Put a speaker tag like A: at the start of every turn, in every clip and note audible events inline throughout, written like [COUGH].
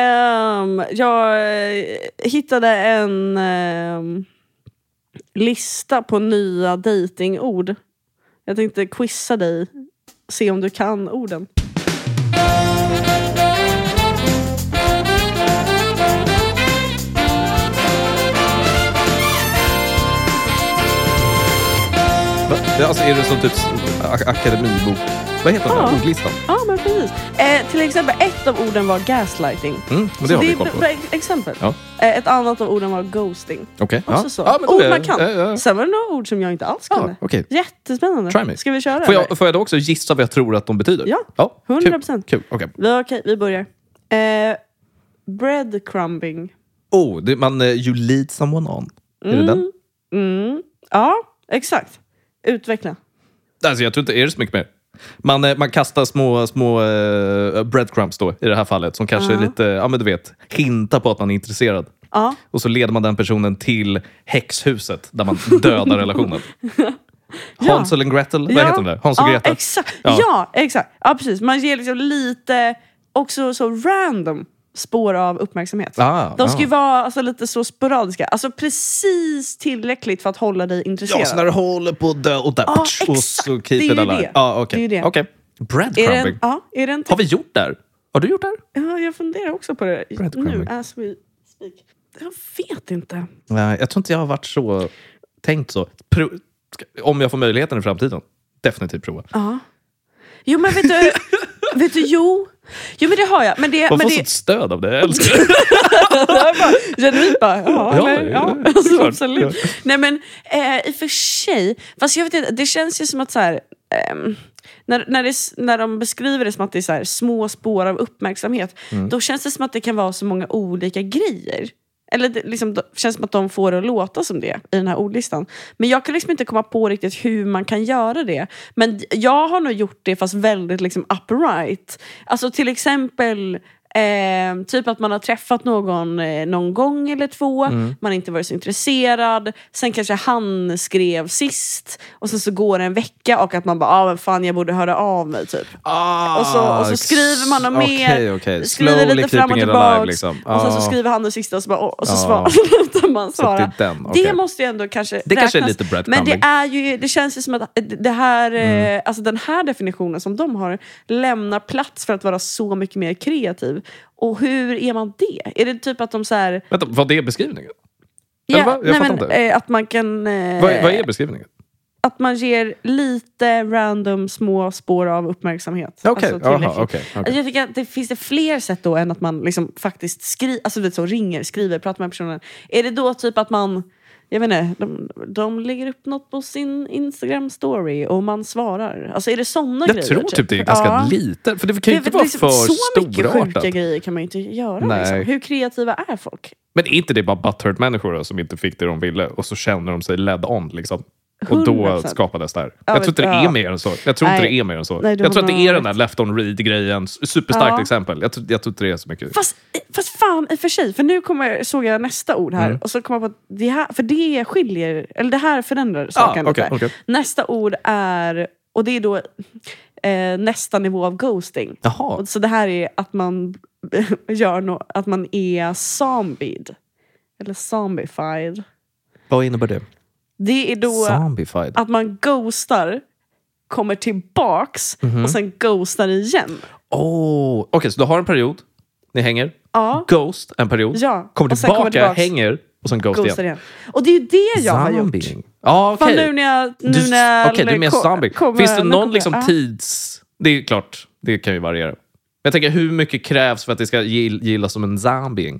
A: Ehm, jag eh, hittade en ehm, lista på nya datingord. Jag tänkte quizza dig, se om du kan orden.
B: Va? Det- Alltså är det som typ s- a- akademibok? Vad heter
A: Ja.
B: den? Ordlistan?
A: Ja, men precis. Eh, till exempel, ett av orden var gaslighting.
B: Mm, men det
A: Så
B: har vi
A: är
B: koll
A: b-
B: på.
A: bra ex- exempel.
B: Ja.
A: Eh, ett annat av orden var ghosting.
B: Okej.
A: Också
B: Ja.
A: så. Oh,
B: Ja, men då
A: ord
B: är-
A: man kan.
B: ja, ja.
A: Sen var det några ord som jag inte alls
B: Ja,
A: kunde.
B: okej.
A: Jättespännande.
B: Try me.
A: Ska vi köra?
B: Får
A: eller?
B: jag, får jag då också gissa vad jag tror att de betyder?
A: Ja,
B: ja.
A: 100%.
B: Kul. kul. Okej.
A: Vi, okej, vi börjar. Eh, breadcrumbing.
B: Oh, det, man, eh, you lead someone on. Är det den?
A: Mm. Ja, exakt. Utveckla.
B: Alltså, jag tror inte det är så mycket mer. Man, eh, man kastar små, små eh, breadcrumbs då, i det här fallet, som kanske är lite, ja men du vet, hintar på att man är intresserad.
A: Ja.
B: Och så leder man den personen till häxhuset
A: [LAUGHS]
B: där man dödar relationen.
A: Ja.
B: Hansel and Gretel, vad
A: ja.
B: heter de där? Hans och
A: ja,
B: Greta?
A: Exakt. Ja.
B: Ja.
A: exakt. Ja, precis. Man ger liksom lite, också så random, spår av uppmärksamhet.
B: Ah,
A: De ska ju
B: ah.
A: vara alltså, lite så sporadiska. Alltså precis tillräckligt för att hålla dig
B: Ja,
A: intresserad.
B: så när du håller på att dö och där...
A: Ja,
B: patsch, och
A: exakt.
B: så
A: Det är
B: keep
A: ju
B: it alive.
A: det.
B: Ja,
A: Det är ju
B: okej.
A: det.
B: Okej.
A: är det
B: Breadcrumbing.
A: en, ja, är det en
B: Har vi gjort det här? Har du gjort det här?
A: Ja, jag funderar också på det nu
B: Breadcrumbing.
A: as we speak. Jag vet inte.
B: Nej, jag tror inte jag har varit så... Tänkt så. Pro... ska- Om jag får möjligheten i framtiden. Definitivt prova.
A: Ja. Jo men vet du,
B: [LAUGHS]
A: vet du jo. Jo men det har jag. Men det, men
B: Man får
A: det,
B: sånt stöd av det. Jag älskar det.
A: Jag bara, Genuint bara, ja,
B: Ja,
A: eller, ja.
B: ja,
A: Alltså,
B: såklart.
A: absolut. Nej men eh, i och för sig, fast jag vet inte, det känns ju som att så här, ehm, när, när, det, s- när de beskriver det som att det är så här, små spår av uppmärksamhet, då känns det som att det kan vara så många olika grejer. Eller det liksom, det känns som att de får det att låta som det i den här ordlistan. Men jag kan liksom inte komma på riktigt hur man kan göra det. Men jag har nog gjort det fast väldigt liksom upright. Alltså till exempel Eh, typ att man har träffat någon eh, någon gång eller två, man har inte varit så intresserad. Sen kanske han skrev sist och sen så går det en vecka och att man bara, ah, men fan jag borde höra av mig. Typ.
B: Ah,
A: Och, så, och så skriver man något mer,
B: Okej, okej.
A: skriver
B: Slowly
A: lite fram och
B: keeping it
A: tillbaks.
B: alive. Liksom.
A: Och sen så
B: Ah.
A: skriver han det sista och så, bara, och, och [LAUGHS] så
B: Ah.
A: svar, slutar man
B: Så att
A: svara.
B: det är den, okej.
A: Det måste ju ändå kanske
B: Det kanske är
A: räknas.
B: lite
A: Men
B: breadcrumbing. Mm.
A: det, är ju, det känns ju som att det här, eh, alltså den här definitionen som de har lämnar plats för att vara så mycket mer kreativ. Och hur är man det? Är det typ att de så här...
B: Vänta, vad är beskrivningen? Eller vad? Jag fattar inte.
A: eh, att man kan... eh,
B: Vad, vad är beskrivningen?
A: Att man ger lite random små spår av uppmärksamhet.
B: Okej,
A: Alltså,
B: jaha,
A: tillräckligt.
B: okej. okej.
A: Alltså Jag tycker att det finns det fler sätt då än att man liksom faktiskt skriver, alltså du vet så ringer, skriver, pratar med personen. Är det då typ att man, jag vet inte, de, de lägger upp något på sin Instagram story och man svarar? Alltså är det sådana grejer?
B: Jag tror typ det är ganska
A: Ja.
B: lite. För det kan ju
A: Det
B: inte
A: är väl
B: vara
A: liksom-
B: för
A: Så mycket sjuka
B: storartat.
A: grejer kan man ju inte göra.
B: Nej.
A: Liksom. Hur kreativa är folk?
B: Men är inte det bara butthurt-människor då, som inte fick det de ville och så känner de sig led on? Liksom. Och då
A: 100%.
B: skapades det här.
A: Ja,
B: jag tror inte det är
A: ja.
B: mer än så. Jag tror
A: Nej.
B: inte det är mer än så.
A: Nej, du
B: jag
A: har
B: tror att
A: nog
B: det är
A: rätt.
B: den där left on read-grejen. Superstarkt
A: Ja.
B: exempel. Jag tror, jag tror inte det är så mycket.
A: Fast, fast fan i och för sig, för nu kommer, såg jag nästa ord
B: Mm.
A: här. Och så kom jag på att det här, för det skiljer, eller det här förändrar saken
B: Ah, okej,
A: lite.
B: okej.
A: Nästa ord är, och det är då eh, nästa nivå av ghosting.
B: Jaha.
A: Och Så det här är att man [LAUGHS] gör nå att man är zombied. Eller zombified.
B: Vad innebär det?
A: Det är då
B: Zombified.
A: att man ghostar, kommer tillbaks
B: Mhm.
A: och sen ghostar igen.
B: Oh. Okej, så du har en period. Ni hänger.
A: Ja.
B: Ghost en period.
A: Ja.
B: Kommer
A: Och sen
B: tillbaka,
A: kommer tillbaks.
B: hänger och sen ghost,
A: Ghostar
B: igen.
A: igen. Och det är ju det jag har gjort.
B: Zombieing. Ja,
A: Fan
B: okej.
A: nu när jag... Nu
B: Du,
A: när jag
B: okej, du är mer
A: ko-
B: zombie.
A: kommer-
B: Finns det
A: nu
B: någon
A: kommer
B: liksom
A: jag- ah.
B: tids... Det är klart, det kan ju variera. Men jag tänker, hur mycket krävs för att det ska gill- gillas som en zombie?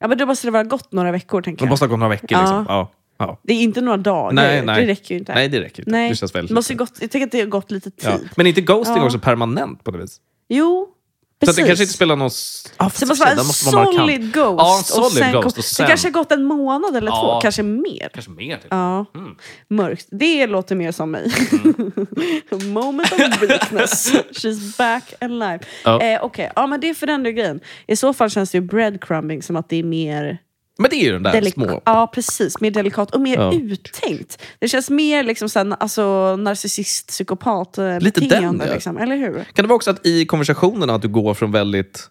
A: Ja, men då måste det vara gått några veckor, tänker
B: Det
A: jag.
B: måste ha gått några veckor.
A: Ja.
B: Liksom. Ja. Ja.
A: Det är inte några dagar.
B: Nej, nej.
A: Det räcker ju inte.
B: Nej, det räcker inte.
A: Nej.
B: Det känns väldigt...
A: måste ju gått, jag tänker att det har gått lite tid.
B: ja. Men inte ghosting
A: Ja.
B: också permanent på något vis?
A: Jo,
B: Så
A: precis.
B: att det kanske inte spelar någon... s-
A: Så
B: Ah,
A: det
B: för
A: måste vara en
B: sig, den måste vara markant.
A: solid ghost.
B: Ja, en solid ghost.
A: kom-
B: Och sen...
A: Det kanske har gått en månad eller
B: Ja.
A: två, kanske mer.
B: kanske mer till.
A: Ja,
B: Mm.
A: mörkt. Det låter mer som mig. [LAUGHS] Moment of
B: [LAUGHS]
A: weakness. She's back alive.
B: Ja.
A: Eh, Okej, ja, men det förändrar ju grejen. I så fall känns det ju breadcrumbing som att det är mer...
B: Men det är ju den där
A: Delik-
B: små...
A: Ja, precis. Mer delikat och mer
B: Ja.
A: uttänkt. Det känns mer liksom sen, alltså, narcissist, psykopat eh,
B: Lite den,
A: beteende.
B: ja.
A: Liksom, eller hur?
B: Kan det vara också att i konversationerna att du går från väldigt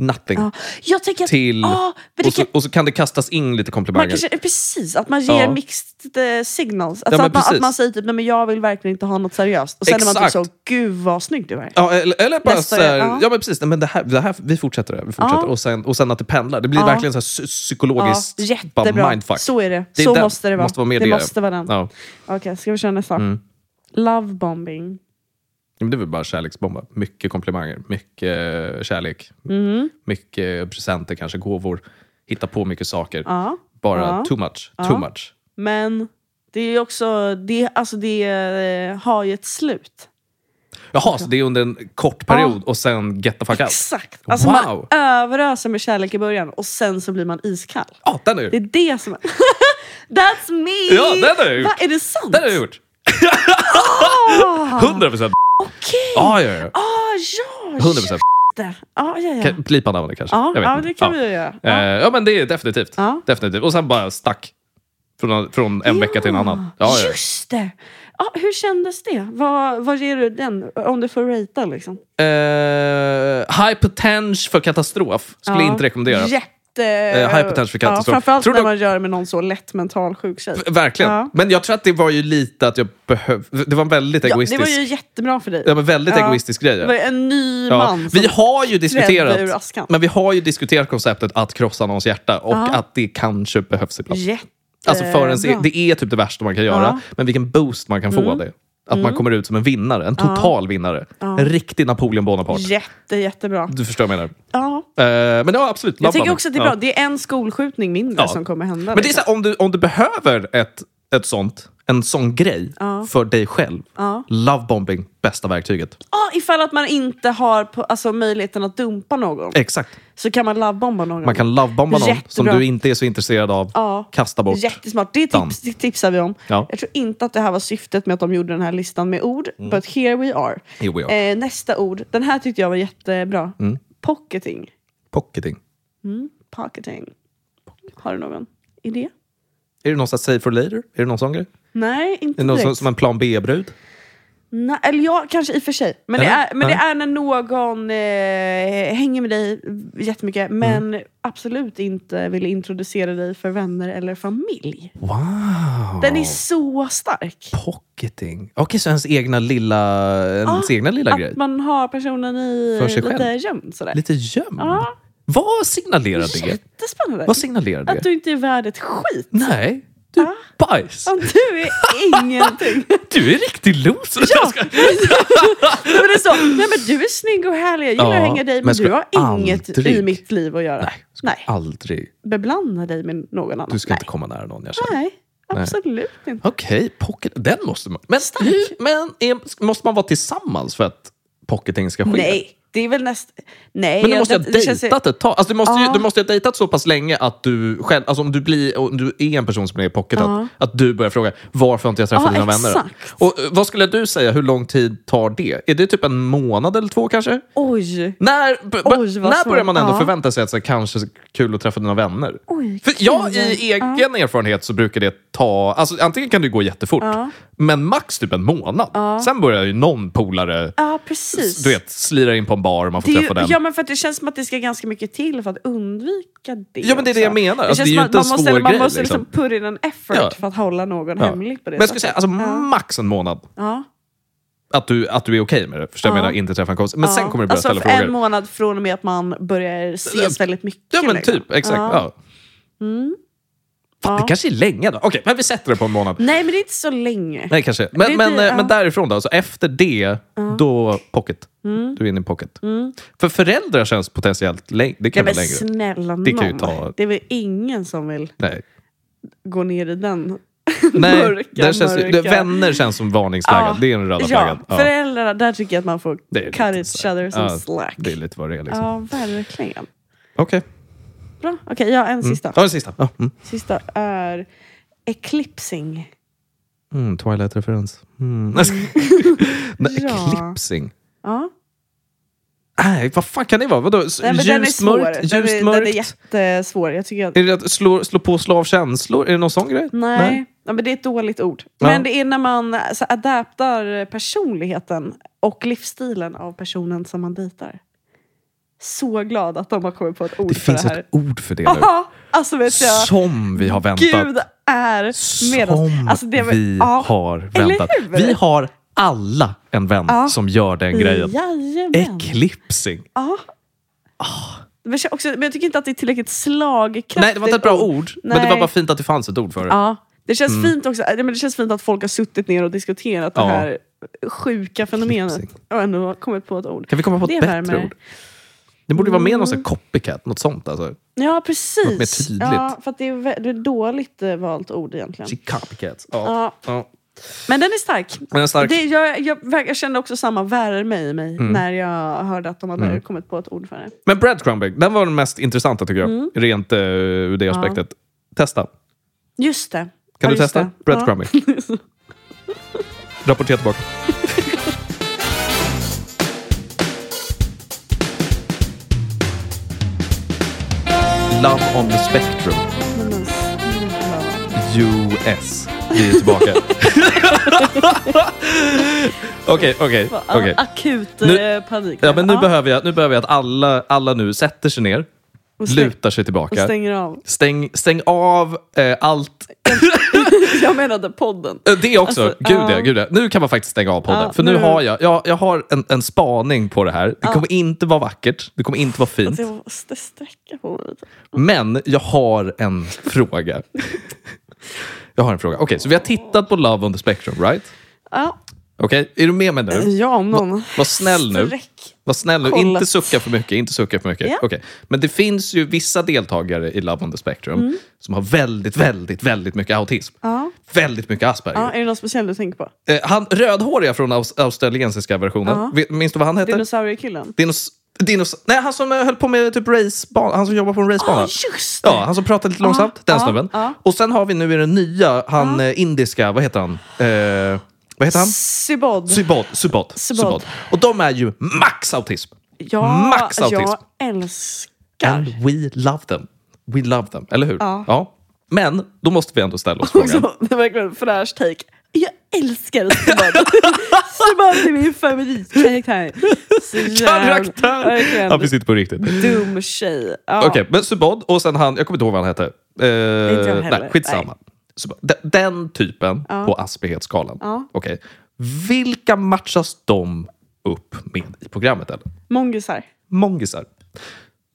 B: nothing.
A: Ja. Jag tänker att...
B: Till,
A: Ja, men det
B: och, så,
A: kan-
B: och så kan det kastas in lite komplimanger.
A: man kanske, precis, att man ger
B: Ja.
A: mixed eh, signals. Alltså
B: men
A: att, man, att
B: precis.
A: man säger typ, nej men jag vill verkligen inte ha något seriöst. Och sen är man typ
B: Exakt.
A: så, gud vad snygg du är.
B: Ja, eller, eller bara
A: Nästa,
B: så här,
A: ja.
B: ja. men precis, nej, men det här, det här, vi fortsätter det här, vi fortsätter.
A: Ja.
B: Och, sen, och sen att det pendlar. Det blir
A: Ja.
B: verkligen så här, psy-
A: Ja,
B: psykologiskt bara
A: jättebra.
B: mindfuck.
A: Så är det.
B: Det är
A: så
B: den.
A: måste det vara.
B: Måste vara med
A: det
B: det.
A: måste vara den.
B: Ja.
A: Okej, ska vi köra nästa?
B: Mm.
A: Lovebombing.
B: Men det är väl bara kärleksbomba. Mycket komplimanger, mycket eh, kärlek,
A: Mm.
B: mycket presenter, kanske gåvor. Hitta på mycket saker.
A: Ja.
B: Bara
A: Ja.
B: too much,
A: Ja.
B: too much.
A: Men det är ju också, det, alltså det eh, har ju ett slut.
B: Jaha, så det är under en kort period och sen get the fuck out.
A: Exakt. Alltså
B: Wow.
A: man överöser med kärlek i början och sen så blir man iskall.
B: Ja, den har jag
A: Det är
B: gjort.
A: det som är... [LAUGHS] That's me!
B: Ja, den har jag
A: Va,
B: gjort.
A: är det sant?
B: Den har jag gjort.
A: Ah,
B: 100 procent.
A: Okej!
B: Ja, ja, ja.
A: Ah, ja,
B: 100 procent.
A: shit. Ah, ja, ja.
B: Kan- Blipa namnet kanske.
A: Ja,
B: Jag vet
A: ja
B: inte.
A: det kan vi ju göra. Ah,
B: Eh,
A: Ja.
B: Ja, men det är definitivt.
A: Ja.
B: definitivt. Och sen bara stack. Från, från en vecka till en annan. Ja, ja.
A: Just det! Ja, hur kändes det? Vad, vad ger du den? Om du får ratea liksom.
B: Eh, high potential för katastrof skulle
A: Ja.
B: inte rekommendera.
A: Jätte...
B: Eh, high potential för katastrof.
A: Ja, framförallt
B: Tror
A: när
B: du-
A: man gör det med någon så lätt mental sjuk tjej.
B: Verkligen.
A: Ja.
B: Men jag tror att det var ju lite att jag behövde... Det var en väldigt
A: Ja, det
B: egoistisk,
A: var ju jättebra för dig.
B: ja, men väldigt
A: Ja.
B: egoistisk grej.
A: Det var ju en ny
B: Ja.
A: man som
B: Vi har ju
A: trädde ur
B: diskuterat
A: askan.
B: men vi har ju diskuterat konceptet att krossa någons hjärta och att det kanske behövs ibland.
A: Jättebra.
B: Alltså för ens, det är typ det värsta man kan göra,
A: Eh, Ja. Mm.
B: men vilken boost man kan få av det. Att man kommer ut som en vinnare, en total vinnare. En riktig Napoleon Bonaparte.
A: Jätte, jättebra.
B: Du förstår vad jag menar.
A: Ja.
B: Eh, men ja, absolut.
A: Jag tycker också att det är bra.
B: ja.
A: Det är en skolskjutning mindre
B: Ja.
A: som kommer hända.
B: Men det är
A: liksom.
B: så här, om, du, om du behöver ett, ett sånt, en sån grej för dig själv.
A: Ja.
B: Lovebombing, bästa verktyget.
A: Ja, ifall att man inte har på, alltså, möjligheten att dumpa någon
B: Exakt.
A: så kan man lovebomba någon.
B: Eh. Man kan lovebomba någon som
A: Jättebra.
B: du inte är så intresserad av.
A: Ja.
B: Kasta bort.
A: Jättesmart. Det,
B: Dan.
A: tips, det tipsar vi om.
B: Ja.
A: Jag tror inte att det här var syftet med att de gjorde den här listan med ord.
B: Mm.
A: But here we are.
B: Here we are.
A: Eh, nästa ord. Den här tyckte jag var jättebra.
B: Mm.
A: Pocketing.
B: Pocketing.
A: Pocketing. Har du någon idé?
B: Är det någon sån här save for later? Är det någon sån grej?
A: Nej, inte
B: Är det någon som,
A: direkt.
B: som en plan B-brud?
A: Nej, eller ja, kanske i och för sig. Men, det
B: Eller?
A: är, men det
B: Nej.
A: är när någon eh, hänger med dig jättemycket men
B: Mm.
A: absolut inte vill introducera dig för vänner eller familj.
B: Wow!
A: Den är så stark.
B: Pocketing. Okej, så ens egna lilla, ens
A: Ja,
B: egna lilla grej.
A: Ah, Att man har personen i
B: För sig
A: lite
B: själv.
A: gömd sådär.
B: Lite gömd.
A: Ja.
B: Vad signalerar det?
A: Jättespännande.
B: Vad signalerar det?
A: Att du Ah. inte är värd ett skit.
B: Nej, du är bajs.
A: Fan, Du är ingenting.
B: Du är riktig loser. Jag ska-
A: Nej, men det är så. Nej, men du är snygg och härlig. Jag gillar
B: Ja,
A: att hänga dig men,
B: men
A: du
B: ska
A: har inget i
B: aldrig-
A: mitt liv att göra.
B: Nej, ska aldrig.
A: Beblanda dig med någon annan.
B: Du ska
A: Nej. Ah.
B: inte komma nära någon jag känner.
A: Nej, absolut inte.
B: Okej, pocket. Den måste man... Men,
A: Stark.
B: hur, men är, måste man vara tillsammans för att pocketing ska ske?
A: Nej, det är väl näst... Nej,
B: Men du
A: jag-
B: måste ju
A: det-
B: ha
A: det känns-
B: dejtat ett tag. Alltså, du, måste ju,
A: Ja.
B: du måste ju ha dejtat så pass länge att du själv, alltså om du, blir, om du är en person som är i pocket,
A: Ja.
B: att, att du börjar fråga varför har inte jag träffat
A: Ja,
B: dina vänner?
A: exakt.
B: Och eh, vad skulle du säga, hur lång tid tar det? Är det typ en månad eller två kanske?
A: Oj!
B: När, b- b-
A: Oj, vad
B: när
A: svårt.
B: börjar man ändå
A: Ja.
B: förvänta sig att så, här, kanske kul att träffa dina vänner?
A: Oj,
B: För jag
A: kul.
B: i egen erfarenhet så brukar det ta, alltså antingen kan det gå jättefort,
A: Ja.
B: men max typ en månad. Sen börjar ju någon polare
A: Ja, precis.
B: du vet, slira in på en bar och man får
A: det är ju,
B: träffa den.
A: ja, men för att det känns som att det ska ganska mycket till för att undvika det.
B: Ja, men det är det jag
A: också.
B: menar.
A: känns
B: Alltså, det är ju
A: som
B: inte
A: att
B: en
A: man måste,
B: svår
A: Man
B: grej,
A: måste liksom
B: liksom.
A: put in en effort
B: Ja.
A: för att hålla någon
B: Ja.
A: hemlig på det
B: Men jag skulle säga
A: sättet.
B: alltså,
A: Ja.
B: max en månad.
A: Ja.
B: Att du, att du är okej med det. Förstår
A: Ja.
B: jag menar? Inte träffa en kompis. Men
A: Ja.
B: sen kommer du börja
A: alltså,
B: ställa
A: för
B: frågor.
A: en månad från och med att man börjar ses väldigt mycket.
B: ja men
A: liksom.
B: typ, exakt. Ja. Fan,
A: Mm. Ja.
B: Det kanske är länge då. Okej, men vi sätter det på en månad.
A: Nej, men det är inte så länge.
B: Nej, kanske. Men,
A: Det är
B: men,
A: inte-
B: eh,
A: ja.
B: men därifrån då? Så efter det, då pocket.
A: Mm.
B: Du är inne i pocket. För föräldrar känns potentiellt längre. Det
A: Nej,
B: kan
A: men
B: vara längre.
A: snälla nån.
B: Det kan ju ta-
A: Det är väl ingen som vill
B: Nej.
A: gå ner i den
B: [LAUGHS] Nej,
A: mörka,
B: där känns,
A: mörka...
B: det- Vänner känns som varningsflaggan.
A: Ja.
B: Det är den röda
A: Ja,
B: flaggan. Ja,
A: föräldrar, där tycker jag att man får
B: Det är lite
A: cut each
B: så här.
A: other som
B: Ja,
A: slack.
B: det är lite vad det är. Liksom.
A: Ja, verkligen.
B: Okej.
A: Bra. Okej, jag har en sista.
B: Ja, den sista. Ja. Mm.
A: Sista är eclipsing.
B: Mm, Twilight-referens. Mm. Nej,
A: [LAUGHS]
B: Nej,
A: Ja.
B: Eclipsing.
A: Ja.
B: Nej, vad fan kan det vara? Vadå?
A: Nej, men den är
B: ljust,
A: svår.
B: mörkt? Ljust,
A: den, är, den
B: mörkt?
A: är jättesvår. Jag tycker att...
B: Är det att slå, slå på slav känslor? Är det någon sån grej?
A: Nej. Ja, men det är ett dåligt ord.
B: Ja.
A: Men det är när man så, adaptar personligheten och livsstilen av personen som man dejtar. så glad att de har kommit på ett ord
B: Det
A: för
B: finns
A: det här.
B: ett ord för det nu.
A: Ja, [LAUGHS] alltså vet jag.
B: Som vi har väntat.
A: Gud är med oss.
B: Som
A: Alltså, det var-
B: vi
A: ja.
B: har
A: Eller
B: väntat.
A: hur?
B: Vi har alla en vän
A: Ja.
B: som gör den grejen.
A: Jajamän.
B: Eclipsing.
A: Men jag, också, men jag tycker inte att det är tillräckligt slagkraftigt.
B: Ah. Nej, det var inte ett bra ord. Men det
A: Nej.
B: var bara fint att det fanns ett ord för det.
A: Ja. Det känns fint också. äh, men det känns fint att folk har suttit ner och diskuterat
B: Mm. Ja.
A: det här sjuka fenomenet.
B: Eclipsing.
A: Och ändå har kommit på ett ord.
B: Kan vi komma på ett
A: Det Mm.
B: bättre
A: värmer.
B: ord? Det borde ju vara med någon sån här copycat, något sånt. Alltså.
A: Ja, precis.
B: Något mer tydligt.
A: Ja, för att det är, vä- det är dåligt eh, valt ord egentligen.
B: Copycat. Ja.
A: Ja.
B: Ja.
A: Men den är stark.
B: Den är stark.
A: Det, jag, jag, jag kände också samma värme i mig när jag hörde att de hade
B: Mm.
A: kommit på ett ord för det.
B: Men breadcrumbing, den var den mest intressanta tycker jag.
A: Mm.
B: Rent eh, ur det aspektet. Testa.
A: Just det.
B: Kan
A: Ja,
B: du
A: just
B: testa
A: det. [LAUGHS]
B: breadcrumbing? Rapportera tillbaka. Love on the spectrum.
A: Ja. Men, men, snälla.
B: US. Vi
A: [LAUGHS]
B: är tillbaka. Okej, okej.
A: Vad,
B: okej.
A: Akut
B: Nu-
A: eh, panik.
B: Ja, men nu, behöver jag, nu behöver jag att alla, alla nu sätter sig ner,
A: Och stäng-
B: lutar sig
A: och
B: tillbaka.
A: stänger av.
B: Stäng, stäng av eh, allt
A: Jag menade podden.
B: Eh, Det också.
A: Alltså,
B: gud,
A: ja.
B: ja, gud ja. Nu kan man faktiskt stänga av podden.
A: Ja,
B: för nu,
A: nu-
B: har jag, jag, jag har en, en spaning på det här. Det kommer inte vara vackert, det kommer inte vara fint.
A: Alltså, jag måste sträcka på mig lite.
B: Men jag har en
A: [LAUGHS]
B: fråga. jag har en fråga. Okej, så vi har tittat på Love on the Spectrum, right?
A: Ja,
B: Okej, är du med mig nu?
A: ja om någon.
B: Var snäll nu.
A: Sträck.
B: Var snäll nu.
A: Eh, Kolla.
B: Inte sucka för mycket. Inte sucka för mycket.
A: Ja.
B: Okej. Men det finns ju vissa deltagare i Love on the Spectrum som har väldigt, väldigt, väldigt mycket autism.
A: Mm. Ja.
B: Väldigt mycket Asperger.
A: Ja, är det någon speciell du tänker på?
B: Eh, han, rödhåriga från aus australiensiska versionen.
A: Ja.
B: Vet- Minns du vad han hette? Dinos...
A: Dinosauriekillen?
B: dinos nej, han som eh, höll på med typ racebana. Han som jobbar på en racebana.
A: Ja, just det!
B: ja, han som pratade lite långsamt. Den
A: ja,
B: snubben.
A: ja.
B: Och sen har vi nu i den nya, han eh, indiska, vad heter han? Eh, vad heter han?
A: Sybod.
B: Subod. Subod.
A: Subodh.
B: Subod. Och de är ju max autism.
A: ja,
B: Max autism.
A: Jag
B: And
A: älskar.
B: we love them. We love them, eller hur?
A: Ja.
B: Men då måste vi ändå ställa
A: [LAUGHS]
B: oss frågan.
A: Också, det var verkligen en fräsch take. Jag älskar [LAUGHS] Sybod. Sybod är min favoritkaraktär. Så jävla-
B: Karaktär!
A: verkligen.
B: Han finns inte på riktigt.
A: Dum tjej. Ja.
B: Okej, men Subod och sen han, jag kommer inte ihåg vad han hette. Eh,
A: jag heller.
B: nej, skitsamma. Subod. De- Den typen på aspighetsskalan.
A: Ja.
B: Okej. Vilka matchas de upp med i programmet? Ellen?
A: Mongisar.
B: Mongisar.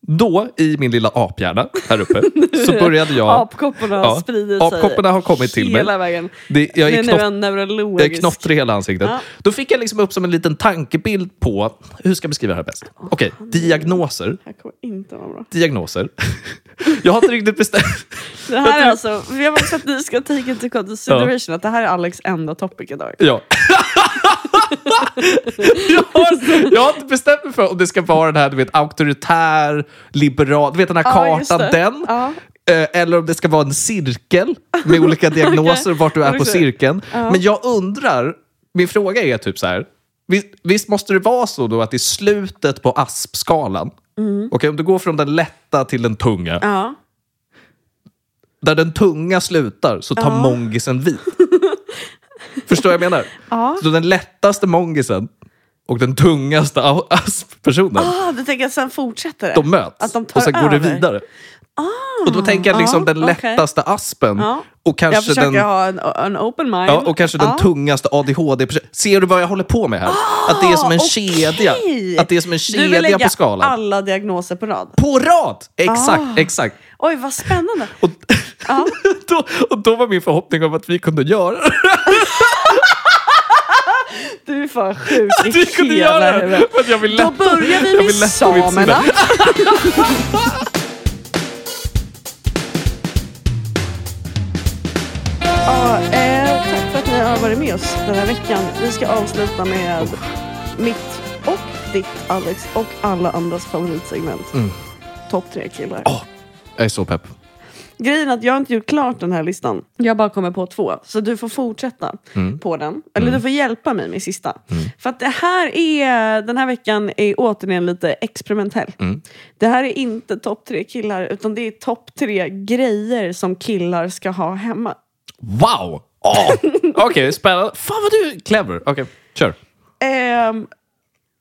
B: Då, i min lilla aphjärna
A: [LAUGHS]
B: här uppe, så började jag...
A: Apkopporna har
B: Ja,
A: spridit sig.
B: apkopporna har kommit till mig.
A: hela vägen.
B: det, jag
A: Det
B: är
A: är nu
B: knopp,
A: en
B: jag är
A: neurologisk...
B: knottrig i hela ansiktet.
A: Ja.
B: Då fick jag liksom upp som en liten tankebild på... Hur ska jag beskriva det här bäst? Okej, diagnoser.
A: Det här kommer inte vara bra.
B: Diagnoser. [LAUGHS] jag har inte riktigt bestämt...
A: Det här är alltså, jag vill också att ni ska take into consideration att det här är Alex enda topic idag.
B: Ja. [LAUGHS] jag, har, jag har inte bestämt mig för om det ska vara den här du vet, auktoritär, liberal, du vet den här
A: Ja, just
B: kartan,
A: det.
B: den.
A: Ja.
B: Eh, Eller om det ska vara en cirkel
A: [LAUGHS]
B: med olika diagnoser,
A: Okej.
B: vart du är på
A: Okej.
B: cirkeln. Men jag undrar, min fråga är typ så här. Visst, visst måste det vara så då att i slutet på ASP-skalan, mm. om du går från den lätta till den tunga,
A: Ja.
B: där den tunga slutar så tar
A: [LAUGHS]
B: mongisen vid. Förstår vad jag menar? Så den lättaste mongisen och den tungaste a- asp-personen,
A: Ah, du tänker att sen fortsätter det?
B: de möts
A: Att de tar
B: och sen går det
A: över.
B: vidare. och då tänker jag liksom
A: ja,
B: den
A: okej.
B: lättaste aspen
A: Ja.
B: och
A: jag
B: kanske
A: försöker
B: den...
A: ha en, en Ah. open mind.
B: Ja, och kanske den tungaste ADHD-personen. Ser du vad jag håller på med här? att det är som en
A: Ah, okej.
B: kedja. Att det är som en
A: Du vill
B: kedja
A: lägga
B: på skalan.
A: alla diagnoser på rad.
B: På rad! Exakt,
A: Ah.
B: exakt. [LAUGHS]
A: Oj, vad spännande.
B: Och,
A: Ja.
B: då, och då var min förhoppning om att vi kunde göra det.
A: Du är fan sjuk
B: [LAUGHS]
A: i
B: Vi kunde
A: hela
B: göra
A: huvudet.
B: det. För att jag
A: Då
B: vill lätta-
A: börjar vi
B: jag
A: med
B: vill lätta mitt sinne.
A: samerna. Ja, eh, tack för att ni har varit med oss den här veckan. Vi ska avsluta med mitt och ditt Alex och alla andras favoritsegment. Mm. Topp tre killar.
B: Jag är så pepp.
A: Grejen är att jag har inte gjort klart den här listan. Jag bara kommer på två. Så du får fortsätta
B: Mm.
A: på den. Eller du får hjälpa mig med sista. För att det här är, den här veckan är återigen lite experimentell.
B: Mm.
A: Det här är inte topp tre killar utan det är topp tre grejer som killar ska ha hemma.
B: Wow!
A: [LAUGHS]
B: Oh. Okej, spännande. Fan vad du är clever. Okej, kör.
A: [LAUGHS] Ehm,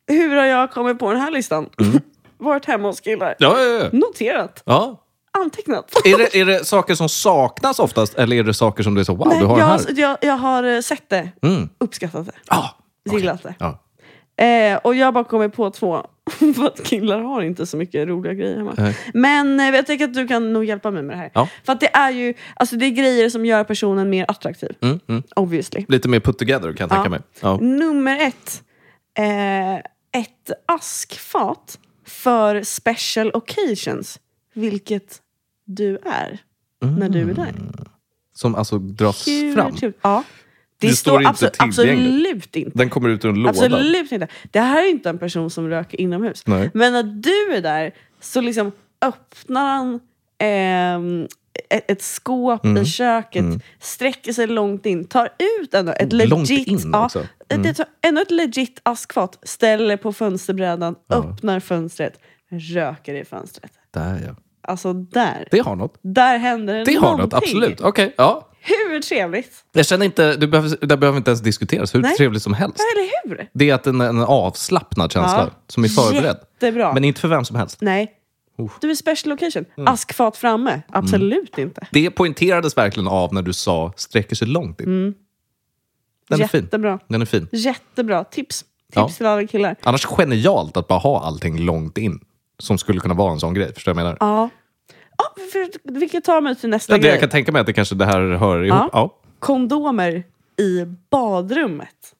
A: hur har jag kommit på den här listan? Varit hemma hos killar.
B: Mm. Ja, ja, ja.
A: Noterat.
B: ja.
A: Antecknat.
B: Är, det, är det saker som saknas oftast eller är det saker som du är så wow,
A: Nej,
B: du har
A: jag,
B: den här?
A: har- jag, jag har eh, sett det,
B: Mm.
A: uppskattat det,
B: Ah, okej.
A: gillat det.
B: Ja.
A: Eh, och jag bara kommer på två. [LAUGHS] För att killar har inte så mycket roliga grejer hemma.
B: Nej.
A: Men eh, jag tänker att du kan nog hjälpa mig med det här.
B: Ja.
A: För att det är ju alltså, det är grejer som gör personen mer attraktiv.
B: Mm, mm.
A: Obviously.
B: Lite mer put together kan jag tänka mig. Ja.
A: Nummer ett. Eh, ett askfat för special occasions. Vilket du är när du är där.
B: Som alltså dras
A: Hur
B: Mm. fram.
A: kul. Ja. Det,
B: Det står
A: står,
B: inte
A: absolut,
B: tillgängligt.
A: absolut inte.
B: Den kommer ut ur en låda.
A: Absolut inte. Det här är inte en person som röker inomhus.
B: Nej.
A: Men när du är där så liksom öppnar han ehm, ett, ett skåp
B: Mm.
A: i köket, sträcker sig långt in, tar ut ändå ett legit,
B: Långt in
A: ja,
B: också. Mm.
A: det tar, ändå ett legit askfat, ställer på fönsterbrädan, öppnar fönstret, röker i fönstret.
B: Där, ja.
A: Alltså där.
B: Det har något.
A: där händer det
B: Det har något,
A: någonting.
B: absolut. Okej, ja.
A: Hur trevligt?
B: Jag känner inte, du behöver, det behöver inte ens diskuteras hur
A: Nej.
B: trevligt som helst.
A: Ja, eller hur?
B: Det är att en, en avslappnad känsla
A: Ja.
B: som är förberedd.
A: Jättebra.
B: Men inte för vem som helst.
A: Nej.
B: Oh.
A: Du är special location.
B: Mm.
A: Askfat framme. Absolut inte.
B: Det poängterades verkligen av när du sa sträcker sig långt in.
A: Mm.
B: Den är fin.
A: Jättebra.
B: Den är fin.
A: Jättebra. Tips. Tips
B: Ja.
A: till alla killar.
B: Annars genialt att bara ha allting långt in. Som skulle kunna vara en sån grej. Förstår du vad jag menar?
A: Ja. ja för, vilket tar mig till nästa
B: Ja, det
A: grej.
B: jag kan tänka mig att det kanske det här hör ihop.
A: Ja.
B: Ja. Ja.
A: Kondomer i badrummet.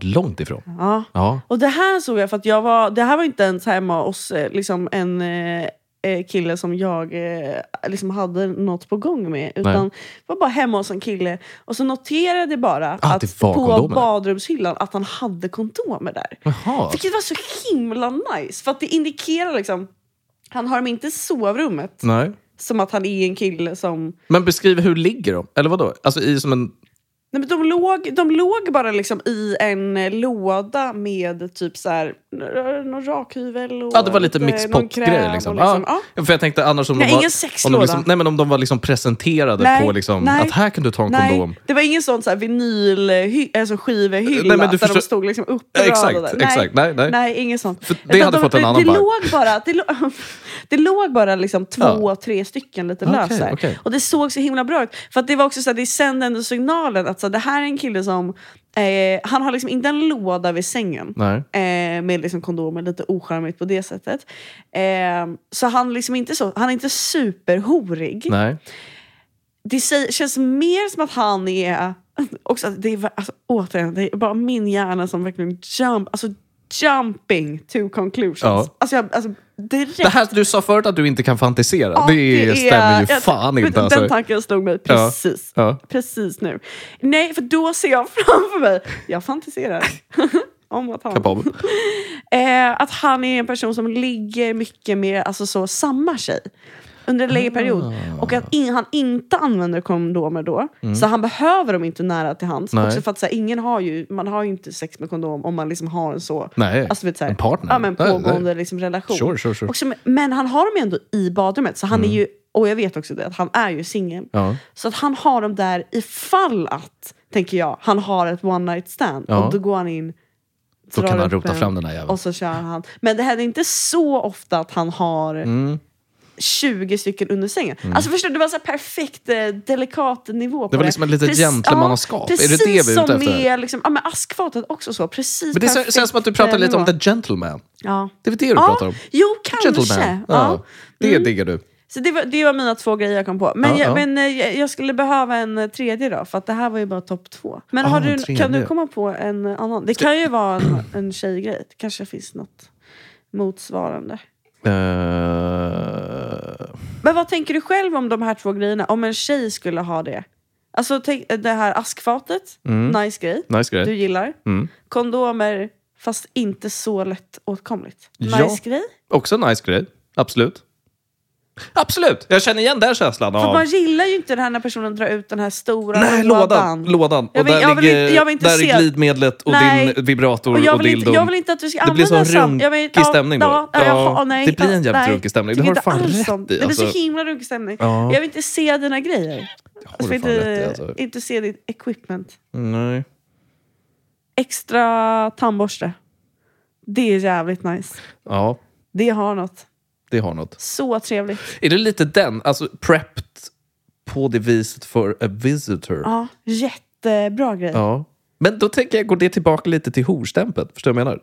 B: långt ifrån.
A: Ja.
B: Ja.
A: Och det här såg jag för att jag var, det här var inte ens hemma hos eh, liksom en eh, eh, kille som jag eh, liksom hade något på gång med. Utan
B: Nej.
A: var bara hemma hos en kille och så noterade jag bara
B: Ah,
A: att
B: det var
A: på
B: kondomer.
A: badrumshyllan att han hade kondomer där.
B: Jaha.
A: Vilket var så himla nice för att det indikerar liksom han har dem inte i sovrummet
B: Nej.
A: som att han är en kille som...
B: Men beskriv hur ligger de? Eller vadå? Alltså i som en...
A: Nej, men de, låg, de låg bara liksom i en eh, låda med typ så här, n- någon rakhyvel och
B: Ja, det var lite
A: någon kräm
B: mixpott-grej.
A: och
B: Liksom.
A: liksom- ja.
B: Ja. För jag tänkte annars om
A: Nej,
B: de var...
A: ingen
B: om
A: sexlåda.
B: de liksom, Nej, men om de var liksom presenterade
A: Nej,
B: på liksom,
A: nej,
B: att här kan du ta en kondom.
A: Nej, det var ingen sån så här vinyl, alltså skivhylla
B: Nej, men du
A: där
B: förstår-
A: de stod liksom
B: Ja,
A: uppradade.
B: Exakt, exakt. Nej, nej.
A: Nej, inget sånt.
B: För det
A: Utan
B: hade fått en
A: det-
B: annan
A: det
B: vibe.
A: låg bara, det, lå- [LAUGHS] det låg bara liksom två, tre stycken lite
B: Okej,
A: lösa.
B: okej.
A: Och det såg så himla bra ut. För att det var också så här, det sände ändå signalen att så här, det här är en kille som, eh, han har liksom inte en låda vid sängen.
B: Nej.
A: Eh, med liksom kondomer, lite ocharmigt på det sättet. Eh, så han liksom inte så, han är inte superhorig
B: Nej.
A: det säger, känns mer som att han är... Också, att det är alltså, återigen, det är bara min hjärna som verkligen jump, alltså, jumping to conclusions.
B: Ja.
A: Alltså, jag, alltså, direkt.
B: Det här du sa förut att du inte kan fantisera,
A: Ja,
B: det, är- stämmer ju
A: jag-
B: fan inte.
A: Den
B: Alltså.
A: tanken slog mig precis.
B: Ja.
A: Precis nu. Nej, för då ser jag [LAUGHS] framför mig, jag
B: [LAUGHS]
A: fantiserar om att han,
B: Kapabel.
A: eh, att han är en person som ligger mycket med alltså, så, samma tjej under en längre period.
B: Ah.
A: Och att in, han inte använder kondomer då. Så han behöver dem inte nära till hands.
B: Mm. Nej.
A: Också för att så här, ingen har ju, man har ju inte sex med kondom om man liksom har en så...
B: Nej,
A: Alltså, vet, så här,
B: en partner.
A: Ja, men
B: Nej,
A: pågående
B: nej.
A: Liksom, relation.
B: Sure, sure, sure.
A: Och som, men han har dem ju ändå i badrummet. Så han är ju, och jag vet också det, att han är ju singel.
B: Ja.
A: Så att han har dem där ifall att, tänker jag, han har ett one night stand.
B: Ja.
A: Och då går han in,
B: Då
A: drar
B: kan han
A: upp
B: rota
A: en,
B: fram den här jäveln.
A: Och så kör han. Men det händer inte så ofta att han har
B: Mm.
A: 20 stycken under sängen. Alltså förstår du, det var så här perfekt eh, delikat nivå på det.
B: var liksom ett litet
A: Precis-
B: gentlemannaskap.
A: Ja,
B: Är det
A: precis
B: det vi är ute
A: som
B: efter?
A: med liksom, ja, men askfatet också så. Precis
B: Men det
A: perfekt,
B: känns- känns som att du pratar
A: eh,
B: lite om
A: nivå.
B: the gentleman.
A: Ja.
B: Det är väl det du
A: ja.
B: pratar om?
A: Jo, kanske. Ja. Mm.
B: Gentleman. Ja. Det diggar du.
A: Så det var, det var mina två grejer jag kom på. Men,
B: Ja,
A: jag,
B: ja.
A: men eh, jag- jag skulle behöva en eh, tredje då, för att det här var ju bara topp två. Men har
B: Ah, en
A: du,
B: tredje.
A: kan du komma på en eh, annan? Det kan ju vara
B: [CLEARS THROAT]
A: en, en tjejgrej. Det kanske finns något motsvarande.
B: Eh,
A: Men vad tänker du själv om de här två grejerna? Om en tjej skulle ha det? Alltså tänk, det här askfatet, nice grej.
B: nice
A: Du
B: grej.
A: gillar.
B: Mm.
A: Kondomer, fast inte så lätt åtkomligt. Nice
B: Ja.
A: grej.
B: Också en nice grej. Absolut. Absolut! Jag känner igen den känslan
A: För
B: av...
A: man gillar ju inte det här när personen drar ut den här stora
B: Nej, lådan. lådan.
A: Jag
B: Och
A: vill- jag
B: där
A: vill inte- jag vill
B: ligger
A: inte
B: där
A: se-
B: är glidmedlet och
A: Nej.
B: din vibrator
A: Och jag,
B: och
A: vill inte,
B: dildon.
A: jag vill inte att du ska
B: Det blir
A: använda
B: så en
A: sam- jag vill-
B: runkig stämning då.
A: Ja, ja, jag
B: Ja,
A: har- nej,
B: det blir en
A: ja,
B: jävligt
A: nej,
B: runkig stämning. Det
A: tycker
B: har du
A: inte alls
B: fan rätt
A: om.
B: i,
A: Det blir så
B: alltså.
A: himla runkig stämning.
B: Ja.
A: Jag vill inte se dina grejer.
B: du
A: Jag vill
B: fan
A: inte,
B: rätt i, alltså.
A: inte se ditt equipment.
B: Nej.
A: Extra tandborste. Det är jävligt nice.
B: Ja.
A: Det har något.
B: alltid har något.
A: Så trevligt.
B: Är det lite den? Alltså prepped på det viset för a visitor.
A: Ja, jättebra grej.
B: Ja. Men då tänker jag, går det tillbaka lite till horstämpeln? Förstår du vad jag menar?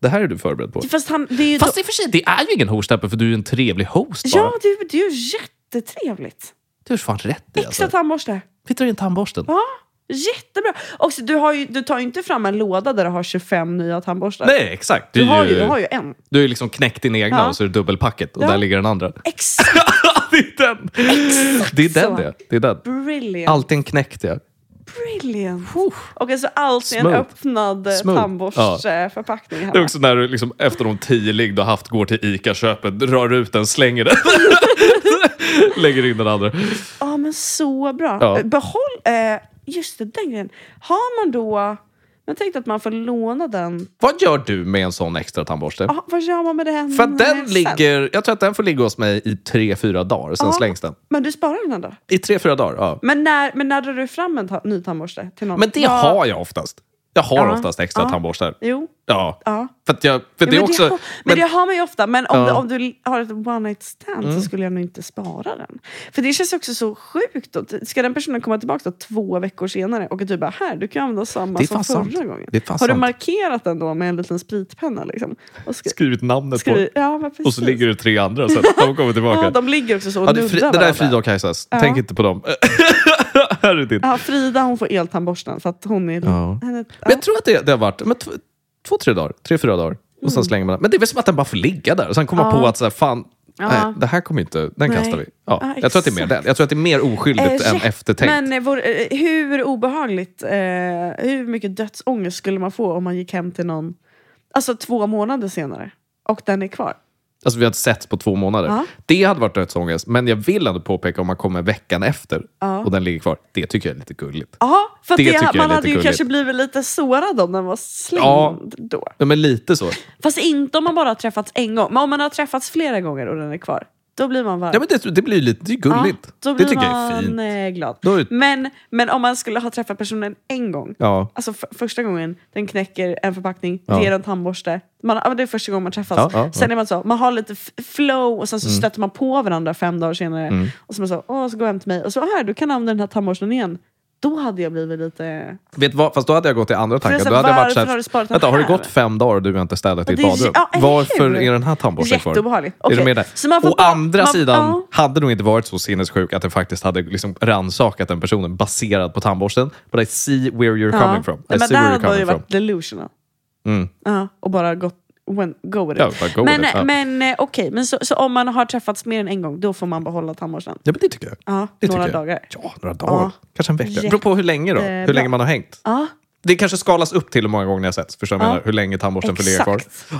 B: Det här är du förberedd på.
A: Fast han, det är ju
B: Fast
A: då,
B: i och för sig, det är ju ingen horstämpel för du är ju en trevlig host bara.
A: Ja, det, är- det är ju jättetrevligt.
B: Du har fan rätt i
A: Extra
B: alltså.
A: tandborste.
B: Fittar in tandborsten.
A: Ja, jättebra. Och så, du, har ju, du tar ju inte fram en låda där du har 25 nya tandborstar.
B: Nej, exakt.
A: du, har ju, du har ju en.
B: du har ju liksom knäckt din egna
A: Ja.
B: och så är det dubbelpacket och
A: Ja.
B: där ligger den andra.
A: Exakt
B: [LAUGHS] det är den! Det är den
A: så.
B: det. det, är den.
A: brilliant.
B: Alltid en knäckt ja.
A: brilliant. Och alltså allt i en
B: Smooth.
A: öppnad eh,
B: Smooth.
A: tandborstförpackning.
B: Det är
A: Ja.
B: också när du liksom efter de tio ligg du har haft går till ICA-köpet, drar ut den, slänger den. [LAUGHS] Lägger in den andra.
A: ja, men så bra.
B: Ja.
A: Eh, Behåll... Eh, just det, den grejen. Har man då... Jag tänkte att man får låna den.
B: Vad gör du med en sån extra tandborste?
A: Ah, vad gör man med den?
B: För att den
A: sen?
B: ligger, jag tror att den får ligga hos mig i tre, fyra dagar, sen
A: Ja.
B: slängs den.
A: Men du sparar den ändå?
B: I tre, fyra dagar, ja.
A: Men när, men när drar du fram en ta- ny tandborste till någon?
B: Men det
A: Ja,
B: har jag oftast. Jag har
A: Ja.
B: oftast extra
A: Ja.
B: tandborstar.
A: Jo.
B: Ja.
A: Ja.
B: För att jag, för det är
A: men,
B: också...
A: det, har- men
B: men,
A: det har man ju ofta. Men om,
B: Ja. Mm.
A: du, om du har ett one night stand så skulle jag nog inte spara den. För det känns ju också så sjukt. Då. Ska den personen komma tillbaka då två veckor senare och du bara här, du kan använda samma
B: Det är
A: som
B: fan
A: förra
B: sant.
A: gången.
B: Det är fan
A: har du
B: sant.
A: markerat den då med en liten spritpenna? Liksom? Och skri-
B: Skrivit namnet på.
A: skri- ja, men
B: Och så
A: precis.
B: ligger det tre andra sen. De kommer tillbaka.
A: [LAUGHS] Ja, de ligger också så och
B: Ja, det, är
A: nuddar
B: fri, det där är
A: varandra.
B: Frida och Kajsas. Tänk inte på dem. [LAUGHS] Här är ditt.
A: Ja, Frida hon får eltandborsten för att hon är...
B: Ja.
A: Henne,
B: Men jag tror att det, det har varit men tv- två, tre dagar. Tre, fyra dagar. Och sen slänger man den. Men det är väl som att den bara får ligga där. Och sen kommer man
A: Mm. Ja.
B: på att så här, fan,
A: Ja.
B: nej, det här kommer inte... Den
A: Nej.
B: kastar vi. Ja,
A: Ja,
B: jag tror att det är mer
A: exakt.
B: den. Jag tror att det är mer oskyldigt
A: Eh,
B: än
A: shit.
B: eftertänkt.
A: Men eh, vår, eh, hur obehagligt, eh, hur mycket dödsångest skulle man få om man gick hem till någon alltså två månader senare och den är kvar?
B: Alltså vi har sett på två månader.
A: Ja.
B: Det hade varit dödsångest. Men jag vill ändå påpeka om man kommer veckan efter och den ligger kvar. Det tycker jag är lite gulligt.
A: Ja, för att
B: Det
A: det
B: tycker jag är
A: man
B: lite
A: hade ju
B: gulligt.
A: kanske blivit lite sårad om den var slängd
B: Ja.
A: då.
B: Ja, men lite så.
A: Fast inte om man bara har träffats en gång. Men om man har träffats flera gånger och den är kvar, då blir man varm.
B: Ja, men det, det blir ju lite det är gulligt.
A: då
B: det
A: blir
B: tycker
A: man
B: jag är fint.
A: eh, glad.
B: Då är-
A: Men, men om man skulle ha träffat personen en gång,
B: Ja.
A: Alltså f- första gången den knäcker en förpackning,
B: Ja.
A: ger en tandborste. Man, ja, men det är första gången man träffas.
B: Ja, ja, Mm. ja.
A: sen är man så, man har lite f- flow och sen så stöter man på varandra fem dagar senare.
B: Mm.
A: Och så man så, åh, så går jag hem till mig och så, här, du kan använda den här tandborsten igen. Då hade jag blivit lite...
B: Vet vad, fast då hade jag gått i andra
A: jag
B: tankar.
A: sa,
B: Då hade jag varit
A: varför
B: så här,
A: har du sparat den
B: vänta, har det
A: här?
B: gått fem dagar och du har inte städat ditt
A: det är ju-
B: badrum?
A: ja, eller
B: Varför
A: hur?
B: är den här tandborsten kvar?
A: Jätteobehagligt.
B: Är du
A: Okej.
B: med där?
A: Så man får
B: Å
A: bara-
B: andra
A: man-
B: sidan
A: ja.
B: hade nog inte varit så sinnessjuk att den faktiskt hade liksom rannsakat den personen baserat på tandborsten. But I see where you're coming from. I
A: Nej, Men
B: see
A: där
B: where you're
A: hade man ju
B: coming from.
A: varit delusional.
B: Mm.
A: Ja, och bara gått... When, go with it.
B: Ja, bara go with
A: men
B: it, ja.
A: men eh, okej, men så, så om man har träffats mer än en gång, då får man behålla tandborsten?
B: Ja, men det tycker jag.
A: Ja,
B: Det
A: några
B: tycker jag.
A: dagar.
B: Ja, några dagar.
A: Ja.
B: Kanske en vecka. Det beror på hur länge då. Hur
A: Jättebra.
B: länge man har hängt.
A: Ja,
B: Det kanske skalas upp till hur många gånger ni har setts. Förstår du vad jag
A: Ja.
B: menar? Hur länge tandborsten får ligga kvar.
A: exakt.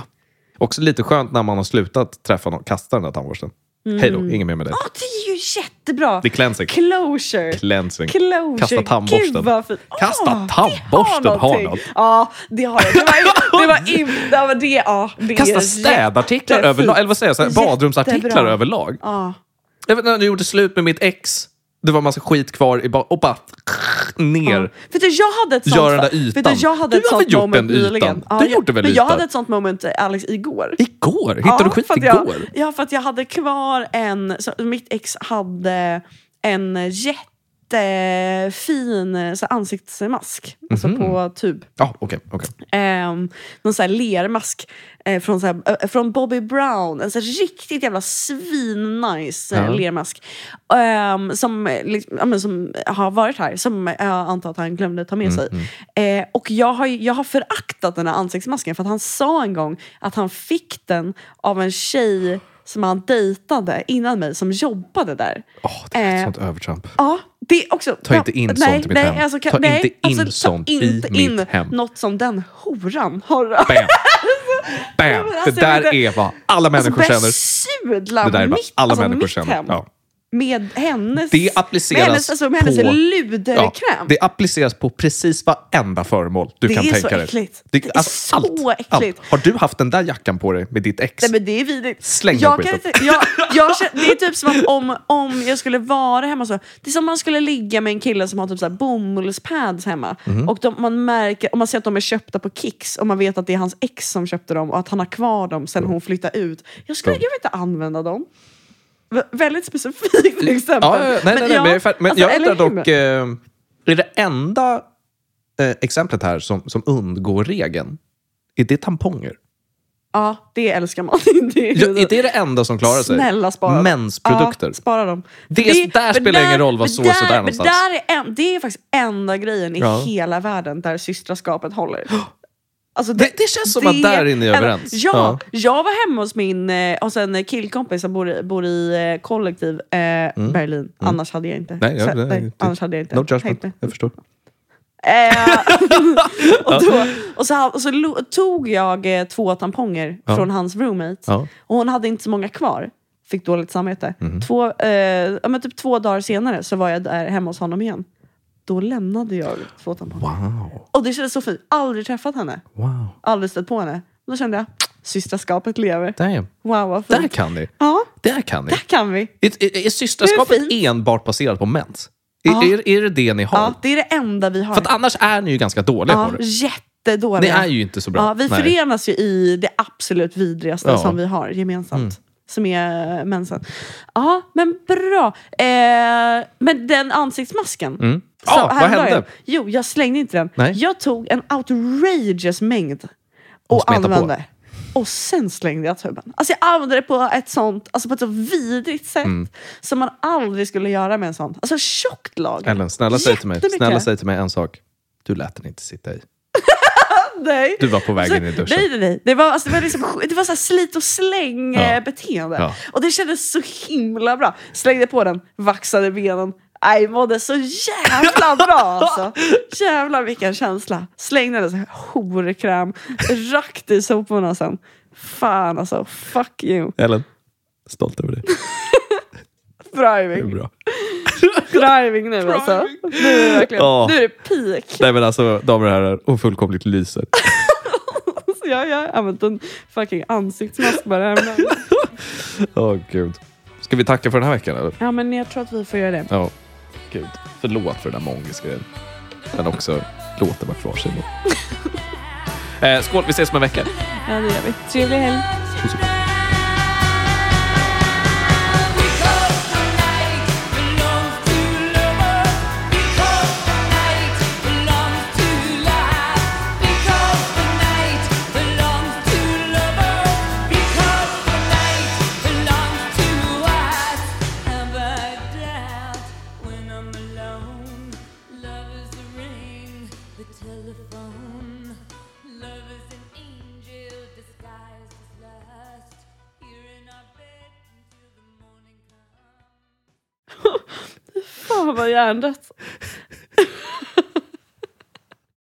B: Också lite skönt när man har slutat träffa någon, kasta den där tandborsten. Hej
A: Mm.
B: då, inget mer med det.
A: Ja, det är ju jättebra!
B: Det är cleansing.
A: Closure!
B: Cleansing.
A: Closure.
B: Kasta tandborsten.
A: Gud, vad fint. Ah,
B: Kasta
A: det har
B: tandborsten,
A: någonting.
B: Harald.
A: Ja, det har jag. Det var, det var in, det var det, ja, det är
B: Kasta
A: jätte-
B: städartiklar
A: jättefint.
B: överlag, eller vad säger jag, så här,
A: Jättebra.
B: badrumsartiklar överlag.
A: Ja.
B: Jag vet när jag gjorde slut med mitt ex, det var massa skit kvar i ba- och bara ner.
A: För du, jag hade ett sånt,
B: Gör den där
A: Vet
B: ytan.
A: du, jag hade
B: Du
A: ett
B: har
A: sånt
B: väl gjort
A: moment
B: den ytan?
A: nyligen.
B: Du
A: jag-
B: gjorde väl
A: Men jag
B: ytan?
A: hade ett sånt moment, eh, Alex, igår.
B: Igår? Hittade du skit
A: för att
B: igår?
A: Jag, ja, för att jag hade kvar en... Så mitt ex hade en jättefin eh, så här ansiktsmask. Alltså
B: Mhm.
A: på tub.
B: Ja, okej. okej.
A: Ehm, någon sån här lermask eh, från, så här, eh, från Bobby Brown. En så här riktigt jävla svin-nice eh,
B: Ja.
A: lermask. Ehm, som, eh, liksom, ja, men, som har varit här, som eh, jag antar att han glömde ta med
B: Mm,
A: sig. Eh, och jag har, ju- jag har föraktat den här ansiktsmasken för att han sa en gång att han fick den av en tjej som han dejtade innan mig som jobbade där.
B: Åh, det är ett
A: Eh,
B: sånt
A: [LAUGHS]
B: övertramp.
A: Ja, det är också...
B: Ta inte in sånt i mitt
A: nej,
B: hem.
A: Alltså, kan,
B: Ta
A: nej,
B: inte in
A: alltså,
B: sånt
A: ta
B: i
A: inte
B: mitt
A: in
B: hem.
A: något som den horan har
B: Bam! Bam!
A: men
B: Det
A: alltså,
B: där
A: det-
B: är vad alla människor
A: alltså,
B: känner.
A: börjar sudla
B: Det där är vad
A: mitt,
B: alla
A: alltså,
B: människor
A: mitt
B: känner.
A: hem.
B: Ja.
A: Med hennes,
B: Det appliceras
A: med hennes, alltså, med hennes
B: på-
A: luderkräm.
B: det appliceras på precis varenda föremål du
A: Det
B: kan
A: är
B: tänka
A: så
B: dig. alltså,
A: äckligt. Det är så äckligt.
B: Har du haft den där jackan på dig med ditt ex?
A: Nej men det är vidrigt.
B: Släng den
A: jag kan
B: skiten.
A: inte, jag, jag, känner- Det är typ som att om, om jag skulle vara hemma så. Det är som om man skulle ligga med en kille som har typ så här bomullspads hemma.
B: Mhm.
A: Och de, man märker, om man ser att de är köpta på Kicks och man vet att det är hans ex som köpte dem och att han har kvar dem sen
B: Mm.
A: hon flyttade ut. Jag, skulle, jag vill inte använda dem. V- väldigt specifikt exempel.
B: Ja, ja, ja. nej, nej, nej,
A: ja,
B: men jag, är fär- men
A: alltså,
B: jag
A: eller
B: undrar
A: hur?
B: dock, eh, är det enda eh, exemplet här som, som undgår regeln, är det tamponger?
A: Ja, det älskar man. [LAUGHS] det,
B: Ja, är det det enda som klarar sig?
A: Snälla spara dem.
B: Mensprodukter.
A: Ja, spara dem.
B: Det är-
A: men
B: där spelar ingen roll vad
A: men
B: såset är
A: där, men
B: någonstans.
A: Där är en, det är faktiskt enda grejen i
B: Ja.
A: hela världen där systraskapet håller. [GASPS] Alltså
B: Det- det känns som att där inne är
A: en-
B: överens.
A: Ja,
B: Ja.
A: jag var hemma hos min eh, hos en killkompis som bor i, bor i eh, kollektiv eh, Berlin. Annars hade jag inte.
B: Mm. Nej, ja,
A: Så-
B: nej, det-
A: annars hade jag inte.
B: No
A: Hängt
B: judgment,
A: med.
B: jag förstår.
A: Eh, [LAUGHS] och, då, och så, och så lo- tog jag eh, två tamponger
B: Ja.
A: från hans roommate.
B: Ja.
A: Och hon hade inte så många kvar. Fick dåligt samvete.
B: Mhm.
A: Två, eh, ja, men typ två dagar senare så var jag där hemma hos honom igen. Då lämnade jag två tamponger.
B: Wow,
A: Och det kändes så fint. Aldrig träffat henne.
B: wow.
A: Aldrig stött på henne. Då kände jag, systraskapet lever.
B: Damn.
A: Wow vad
B: Där
A: fint.
B: kan ni.
A: Ja,
B: Där kan ni.
A: där kan vi.
B: Är, är, är systraskapet
A: Det
B: enbart baserat på mens? Är,
A: Ja.
B: är, är det det ni har?
A: Ja, det är det enda vi har.
B: För att annars är ni ju ganska dåliga
A: ja,
B: på det. Ni
A: jättedåliga.
B: är ju inte så bra.
A: Ja, vi
B: Nej.
A: förenas ju i det absolut vidrigaste
B: Ja. Mm.
A: som vi har gemensamt. Som är eh, mensen. Ja, men bra. Eh, men den ansiktsmasken.
B: Mm.
A: Så
B: Ah, vad
A: här la
B: hände?
A: Jag, jo, jag slängde inte den.
B: Nej.
A: Jag tog en outrageous mängd och
B: smetade på.
A: använde. Och sen slängde jag tuben. Alltså jag använde det på ett sånt, alltså på ett så vidrigt sätt
B: Mm.
A: som man aldrig skulle göra med en sån. Alltså tjockt lager.
B: Ellen, snälla säg till mig,
A: Jättemycket.
B: snälla säg till mig en sak. Du lät den inte sitta i.
A: Nej.
B: Du var på väg in i
A: Så-
B: duschen.
A: Alltså, Nej, nej, nej. Det var, alltså, det var, liksom, det var så här slit och släng
B: Ja.
A: eh, beteende.
B: Ja.
A: Och det kändes så himla bra. Slängde på den, vaxade benen. Nej, mådde så jävla bra
B: [LAUGHS]
A: alltså. Jävlar vilken känsla. Slängde den så här horkräm, rakt i soporna sen. Fan alltså, fuck you.
B: Ellen, stolt över dig. Det är [LAUGHS]
A: Driving,
B: bra.
A: driving nu alltså. Nu är det verkligen,
B: Ja.
A: nu är det peak. [LAUGHS]
B: Nej men alltså, damer och herrar, hon fullkomligt lyser.
A: Alltså, jag jag har använt en fucking ansiktsmask bara
B: [LAUGHS]
A: häromdagen.
B: Åh gud. Ska vi tacka för den här veckan eller?
A: Ja men jag tror att vi får göra det.
B: Ja. Gud. Förlåt för den där mongisgrejen. Men också, låt det vara kvar sig
A: [LAUGHS]
B: då. eh, skål, vi ses om en vecka.
A: Ja det gör vi. Trevlig helg.
B: Puss och kram.
C: Because the night belongs to lovers. Because the night belongs to life. Because the night belongs to lovers. Because the night belongs to us. Have a doubt when I'm alone. Love is the ring, the telephone. Love is an angel disguised as lust. Here in our bed until the morning comes.
A: Fan vad hjärndött.